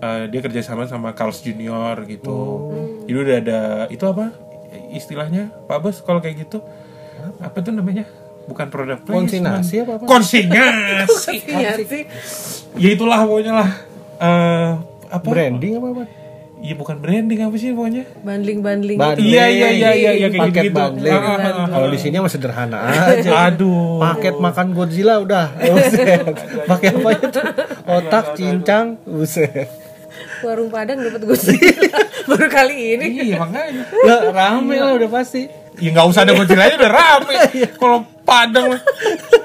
S1: eh, dia kerjasama sama Carl's Junior gitu. Jadi udah ada itu apa istilahnya Pak Bos kalau kayak gitu apa tuh namanya? Bukan produk
S2: Konsinasi apa apa?
S1: Konsinyasi
S3: Iya sih.
S1: ya itulah pokoknya lah eh apa
S2: Branding apa apa?
S1: Iya bukan branding apa sih pokoknya?
S3: Bandling-bandling.
S2: Ban-
S1: Iya iya iya iya iya kayak
S2: Paket
S1: gitu.
S2: bundling. Iya. Kalau di sini mah sederhana aja.
S1: ah. Aduh.
S2: Paket makan Godzilla udah. Buset. Pakai apa itu? Otak cincang. Buset.
S3: Warung Padang dapat gosip. Baru kali ini.
S1: Iya makanya.
S2: Lah, rame lah udah pasti.
S1: Ya nggak usah ada Godzilla udah rame. Kalau Padang,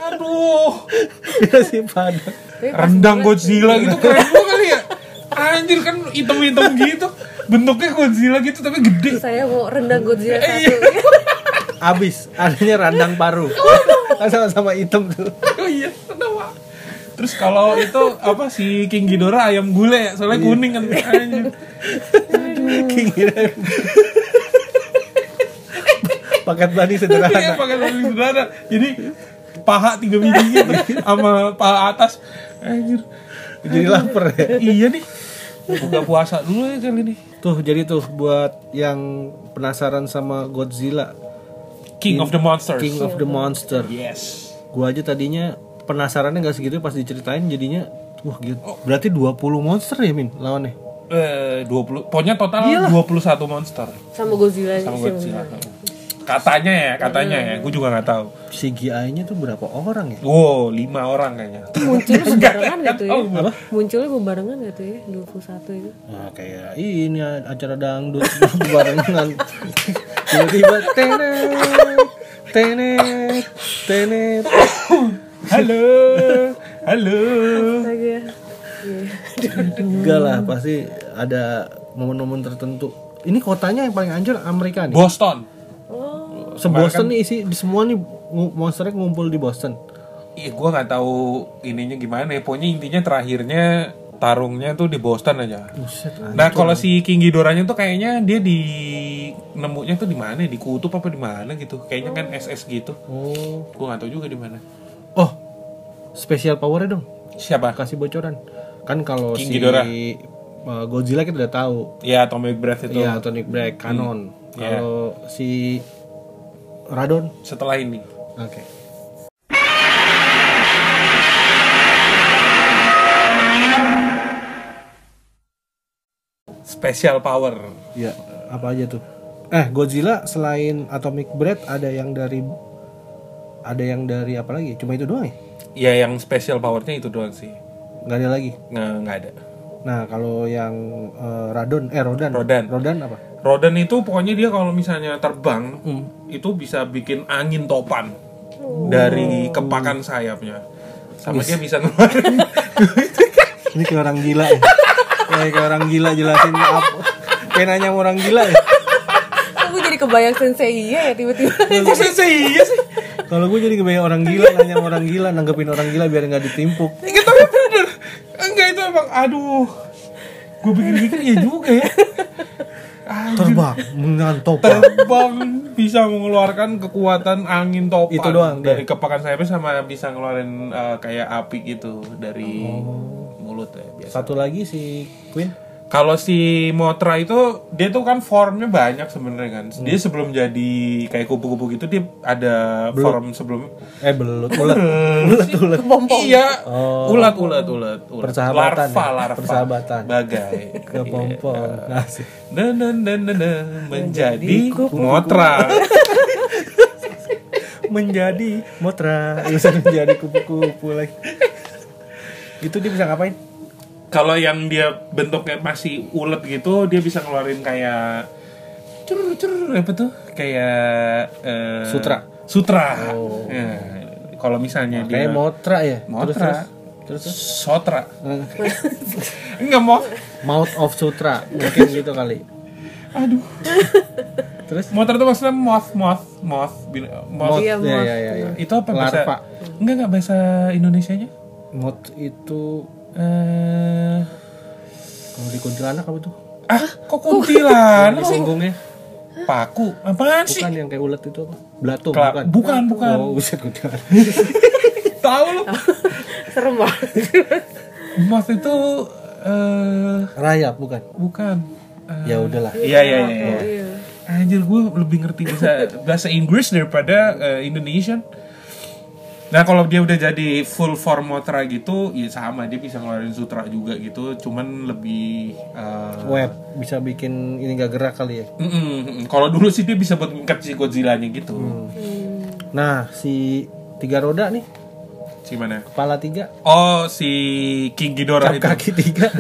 S1: aduh,
S2: Gila Iya sih padang.
S3: Tapi pas
S1: rendang Godzilla gitu keren juga kali ya. Anjir kan hitam-hitam gitu, bentuknya Godzilla gitu tapi gede.
S3: saya mau rendang Godzilla
S1: Iya.
S3: satu.
S2: Abis, adanya randang paru. Kan sama-sama hitam tuh.
S1: Oh iya, kenapa? Terus kalau itu apa si King Ghidorah ayam gulai ya,
S2: Iya.
S1: soalnya kuning kan anjir.
S2: Kira Paket banding
S1: Iya,
S2: sederhana.
S1: pakai lagi sederhana. Jadi paha tiga biji gitu sama paha atas. Anjir.
S2: Jadi lapar ya.
S1: Iya nih. Buka puasa dulu ya kali ini.
S2: Tuh jadi tuh buat yang penasaran sama Godzilla
S1: King of the Monsters.
S2: King of the Monster.
S1: Yes.
S2: Gua aja tadinya penasarannya nggak segitu pas diceritain jadinya wah gitu. Berarti 20 monster ya Min lawannya.
S1: Eh, 20 pokoknya total 21 monster
S3: Sama Godzilla
S1: sama
S3: sih.
S1: Godzilla. Katanya ya, katanya ya. Gue juga nggak tahu.
S2: CGI-nya tuh berapa orang ya?
S1: Wow, lima orang kayaknya.
S3: Munculnya berbarengan gitu ya.
S1: Oh, apa?
S3: Munculnya berbarengan gitu ya, 21 itu.
S2: Nah, kayak ini acara dangdut barengan. Tiba-tiba tenet tenet tenet.
S1: Halo. Halo.
S3: Astaga.
S2: Enggak lah pasti ada momen-momen tertentu. Ini kotanya yang paling anjir Amerika nih.
S1: Boston.
S3: Oh,
S1: kan-
S2: Se-Boston nih isi di semua nih ngu- monsternya ngumpul di Boston.
S1: Iya, gue nggak tahu ininya gimana. ya. Pokoknya intinya terakhirnya tarungnya tuh di Boston aja.
S2: Buset.
S1: Nah kalau si King Ghidorahnya tuh kayaknya dia di nemunya tuh di mana? Di kutub apa di mana gitu? Kayaknya kan SS gitu.
S2: Oh.
S1: Gue nggak tahu juga di mana.
S2: Oh. Spesial powernya dong.
S1: Siapa?
S2: Kasih bocoran. Kan kalau
S1: King
S2: si
S1: Ghidorah.
S2: uh, Godzilla kita udah tahu.
S1: Ya Atomic Breath itu.
S2: Iya, Tonic Black, Canon.
S1: Iya.
S2: Kalau si Radon.
S1: Setelah ini.
S2: Oke.
S1: Special power.
S2: Iya, apa aja tuh? Eh, Godzilla selain Atomic Breath ada yang dari ada yang dari apa lagi? Cuma itu doang ya?
S1: Ya yang special powernya itu doang sih.
S2: Nggak ada lagi.
S1: Nggak nggak ada.
S2: Nah, kalau yang eh, Radon, eh Rodan.
S1: Rodan.
S2: Rodan apa?
S1: Rodan itu pokoknya dia kalau misalnya terbang itu bisa bikin angin topan dari kepakan sayapnya. Sama dia bisa ngeluarin
S2: Ini kayak orang gila ya. Kayak, kayak orang gila jelasin apa. Kayak nanya sama orang gila ya.
S3: aku jadi kebayang sensei ya tiba-tiba.
S1: Kok sensei iya sih?
S2: Kalau gue jadi kebanyakan orang gila nanya sama orang gila, nanggepin orang gila biar nggak ditimpuk.
S1: Enggak tapi bener Enggak itu emang aduh Gue pikir-pikir ya juga ya Anjir,
S2: Terbang, mengantop.
S1: Terbang bisa mengeluarkan kekuatan angin topan
S2: Itu doang iya. dia.
S1: Dari kepakan sayapnya sama bisa ngeluarin eh, kayak api gitu Dari
S2: Oh.
S1: mulut ya biasa
S2: Satu lagi si Queen.
S1: kalau si Motra itu dia tuh kan formnya banyak sebenarnya kan.
S2: Hmm.
S1: Dia sebelum jadi kayak kupu-kupu gitu dia ada form sebelum
S2: Eh belut, ulet, ulet, ulet.
S1: Iya, ulat ulat ulat ulat.
S2: Oh. Persahabatan
S1: larva
S2: ya,
S1: larva.
S2: persahabatan.
S1: Bagai.
S2: Ke pompong. Asik.
S1: Dan dan dan dan dan, menjadi motra.
S2: menjadi motra, bisa menjadi kupu-kupu lagi. Itu dia bisa ngapain?
S1: Kalau yang dia bentuknya masih ulet gitu, dia bisa ngeluarin kayak cur cur apa tuh? Kayak eh,
S2: Sutra. Oh. Nah,
S1: Sutra. Ya, Kalau misalnya dia
S2: Kayak motra ya.
S1: motra.
S2: Terus, Eh. terus, terus.
S1: Sotra.
S2: Eh,
S1: Enggak mau.
S2: Mouth of Sutra mungkin gitu kali.
S1: Aduh.
S2: Terus
S1: Motor itu maksudnya moth moth moth bin- moth.
S2: mouth
S3: Iya,
S2: ya,
S3: moth.
S2: ya, ya, ya.
S1: Itu apa bahasa?
S2: Larva.
S1: Enggak enggak bahasa Indonesianya?
S2: Mouth itu
S1: Eh
S2: kalau di kuntilanak apa tuh?
S1: ah, kok kuntilan?
S2: Disenggungnya
S1: Paku. Apaan sih?
S2: bukan yang kayak ulet itu apa? Belatung
S1: Kelap-
S2: bukan.
S1: bukan, bukan.
S2: Oh, buset kuntilanak.
S1: Tahu lu.
S3: Serem banget.
S1: Moth itu eh
S2: Rayap bukan.
S1: bukan. Eh,
S2: Ya udahlah.
S1: Iya iya iya. iya. Anjir gue lebih ngerti bahasa bahasa Inggris daripada eh, Indonesian. Nah kalau dia udah jadi full form Mothra gitu, ya sama dia bisa ngeluarin sutra juga gitu, cuman lebih eh,
S2: Web bisa bikin ini gak gerak kali ya.
S1: mm-mm. Kalau dulu sih dia bisa buat ngangkat si Godzilla-nya gitu.
S2: Hmm. Nah si tiga roda nih
S1: Si mana?
S2: kepala tiga
S1: Oh si King Ghidorah itu.
S2: kaki tiga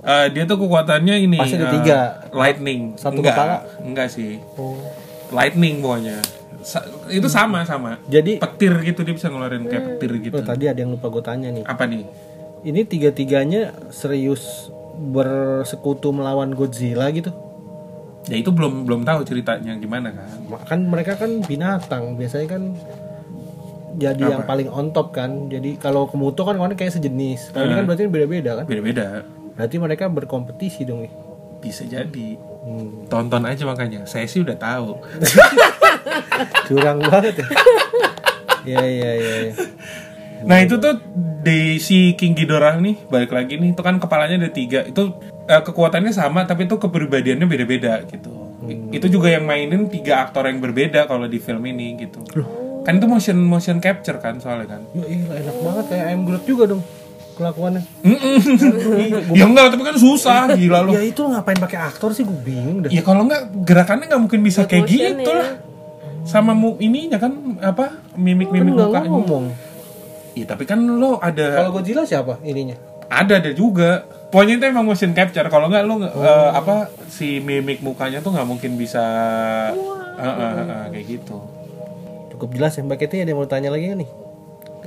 S1: Eh, dia tuh kekuatannya ini.
S2: Pasti ada
S1: eh,
S2: tiga.
S1: lightning.
S2: Satu
S1: enggak,
S2: kepala?
S1: Enggak sih.
S2: Oh.
S1: Lightning pokoknya. Sa- itu sama sama.
S2: Jadi-
S1: petir gitu dia bisa ngeluarin kayak petir gitu.
S2: Oh, tadi ada yang lupa gue tanya nih.
S1: Apa nih?
S2: Ini tiga-tiganya serius bersekutu melawan Godzilla gitu.
S1: Ya itu belum belum tahu ceritanya gimana kan.
S2: Kan mereka kan binatang, biasanya kan jadi yang paling on top kan. Jadi kalau Komodo kan kemarin kayak sejenis. Kalau ini kan berarti beda-beda kan.
S1: Beda-beda.
S2: Berarti mereka berkompetisi dong nih.
S1: Bisa jadi.
S2: Hmm.
S1: Tonton aja makanya. Saya sih udah tahu.
S2: Curang banget ya. Iya iya iya. iya.
S1: Nah itu tuh di si King Ghidorah nih balik lagi nih itu kan kepalanya ada tiga itu eh, kekuatannya sama tapi itu kepribadiannya beda-beda gitu. I- Itu juga yang mainin tiga aktor yang berbeda kalau di film ini gitu. Kan itu motion motion capture kan soalnya kan.
S2: Yo, iya, enak banget kayak ayam Groot juga dong kelakuannya.
S1: Mm-mm. ya enggak tapi kan susah gila lu.
S2: Ya itu ngapain pakai aktor sih gue bingung dah.
S1: Ya kalau enggak gerakannya nggak mungkin bisa kayak
S3: motion
S1: gitu
S3: ya.
S1: lah. Sama mu ininya kan apa mimik-mimik
S2: Kan Enggak
S1: mukanya.
S2: ngomong.
S1: Iya tapi kan lo ada
S2: Kalau Godzilla siapa ininya?
S1: ada ada juga pokoknya itu emang motion capture kalau nggak lu nggak, eh, apa si mimik mukanya tuh nggak mungkin bisa Eh, eh, eh, eh, kayak gitu
S2: Cukup jelas ya Mbak Kety ada yang mau tanya lagi nggak nih?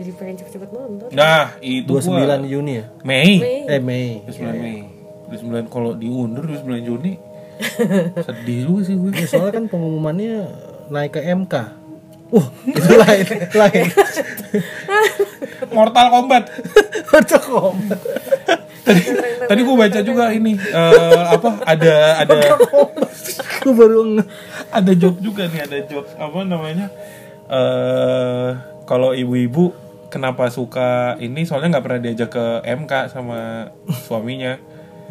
S3: Jadi pengen cepet-cepet nonton.
S1: nah itu
S2: 29
S1: gua
S2: Juni ya?
S1: Mei
S2: Eh Mei
S1: 29 Mei 29 kalau diundur 29 Juni sedih juga sih gue
S2: Ya, Soalnya kan pengumumannya naik ke MK Wah itu lain Lain
S1: Mortal Kombat
S2: Mortal Kombat
S1: tadi tadi gue baca juga ini eh, apa ada ada
S2: Gue baru nge
S1: ada joke juga nih ada joke apa namanya eh kalau ibu-ibu kenapa suka ini soalnya nggak pernah diajak ke MK sama suaminya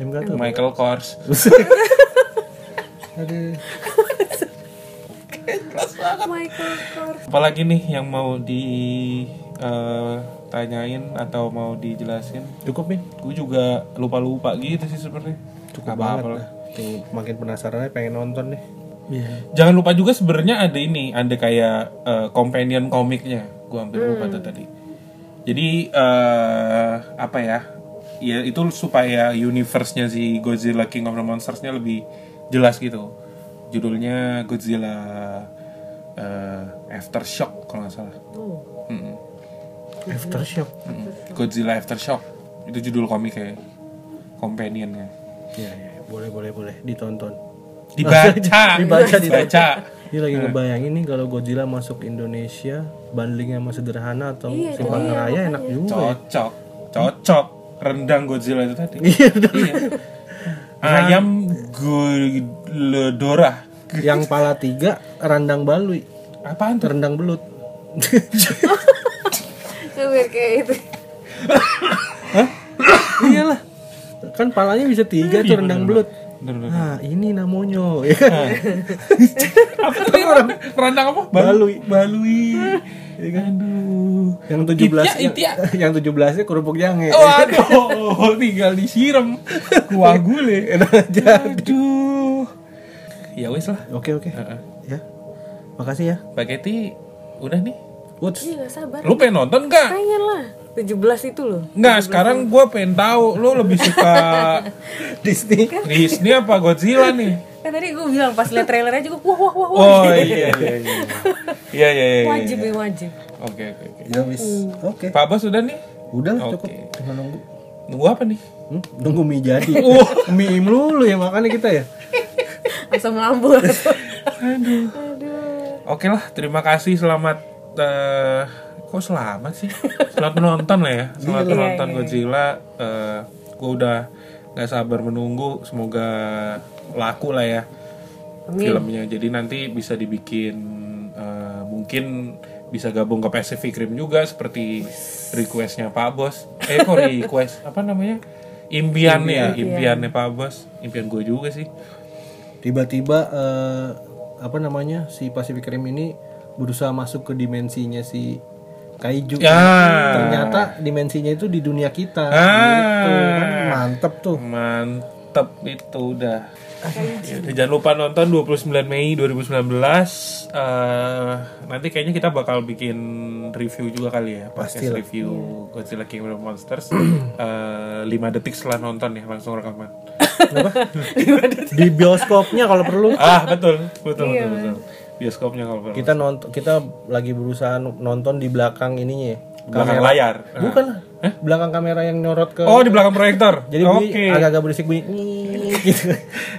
S2: MK tuh
S1: Michael Kors
S2: Aduh
S3: Oh Michael Kors.
S1: apalagi nih yang mau di eh, tanyain atau mau dijelasin
S2: Cukup Min
S1: gue juga lupa-lupa gitu sih sebenarnya
S2: Cukup
S1: Nggak
S2: banget
S1: apa-apa lah.
S2: lah Tuh, Makin penasaran aja, pengen nonton deh Iya
S1: jangan lupa juga sebenarnya ada ini ada kayak eh, companion komiknya gue hampir lupa tuh tadi jadi eh apa ya ya itu supaya universe-nya si Godzilla King of the Monsters-nya lebih jelas gitu judulnya Godzilla eh, Aftershock kalau nggak salah
S3: Oh,
S1: Mm-mm.
S2: Aftershock
S1: Mm-mm. Godzilla Aftershock itu judul komiknya companionnya
S2: Iya iya Boleh boleh boleh Ditonton
S1: dibaca
S2: Dibaca,
S1: dibaca
S2: Ini lagi ngebayangin nih kalau Godzilla masuk Indonesia Bandingnya sama sederhana atau simpang raya enak juga ya.
S1: cocok cocok rendang Godzilla itu tadi
S2: Iya bener.
S1: ayam Goledora
S2: Yang pala tiga Randang balui
S1: apaan tuh
S2: Rendang belut
S3: coba kayak itu.
S2: Iyalah Kan palanya bisa tiga
S1: Iya,
S2: tuh rendang belut
S1: Bentar, bentar.
S2: Nah ini namonyo ya
S1: Nah.
S2: kan?
S1: apa tadi orang rendang apa
S2: Balui. Iya kan?
S1: balui aduh
S2: Yang 17 belas
S1: Itia,
S2: Yang 17 nya kerupuk jange
S1: Oh. waduh tinggal disiram kuah gule
S2: Enak aja
S1: aduh ya wes lah
S2: Eh, Oke oke
S1: Heeh.
S2: Ya Makasih ya
S1: Paketi udah nih
S2: Woods
S3: Iya, gak sabar.
S1: lu pengen nonton gak?
S3: Pengen lah. 17 itu loh.
S1: Nggak, sekarang gue pengen tahu lu lebih suka
S2: Disney
S1: Disney apa Godzilla nih?
S3: Kan tadi gue bilang pas liat trailernya juga wah wah wah wah.
S1: Oh iya iya iya. Iya iya iya.
S3: Wajib nih wajib.
S1: Oke oke oke.
S2: Ya wis Oke
S1: Pak Bas udah nih?
S2: Udah lah, cukup
S1: Oke.
S2: Tinggal nunggu
S1: Nunggu apa nih?
S2: Hmm, nunggu mie jadi mie im lulu ya makannya kita ya
S3: Asam lambung.
S1: Aduh. Oke lah, terima kasih selamat eh, kok selamat sih? Selamat menonton lah ya. Selamat menonton Godzilla. Eh, gue udah nggak sabar menunggu. Semoga laku lah ya filmnya. Jadi nanti bisa dibikin eh, mungkin bisa gabung ke Pacific Rim juga seperti requestnya Pak Bos. Eh kok request apa namanya? Impian ya, impiannya Pak Bos. Impian gue juga sih.
S2: tiba-tiba eh, apa namanya si Pacific Rim ini berusaha masuk ke dimensinya si kaiju.
S1: Ya.
S2: Ternyata dimensinya itu di dunia kita.
S1: Ah.
S2: Gitu. Kan mantep tuh.
S1: Mantep itu udah. Yaudah, jangan lupa nonton 29 Mei 2019. Eh, nanti kayaknya kita bakal bikin review juga kali ya. Podcast review Godzilla Kingdom of Monsters. Eh, 5 detik setelah nonton ya langsung rekaman.
S2: Di bioskopnya kalau perlu.
S1: ah, betul. Betul, betul, betul. Bioskopnya kalau perlu.
S2: Kita nonton kita lagi berusaha nonton di belakang ininya. ya.
S1: belakang layar.
S2: Bukan lah. Belakang kamera yang nyorot ke
S1: Oh, di belakang proyektor.
S2: Jadi bunyi-
S1: Oke.
S2: agak-agak berisik bunyi. gitu.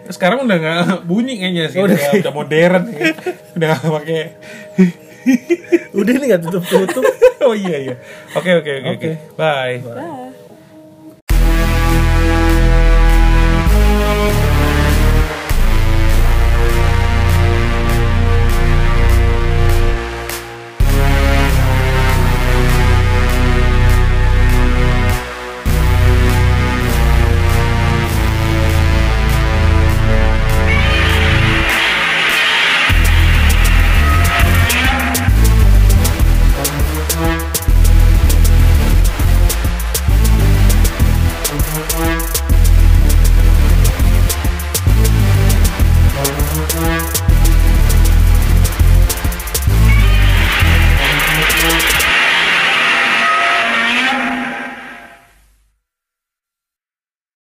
S1: Sekarang udah nggak bunyi kayaknya sih. Udah, udah modern. ya. udah nggak pakai.
S2: Udah ini nggak tutup-tutup.
S1: oh iya iya. Oke oke oke oke. Bye.
S3: Dah.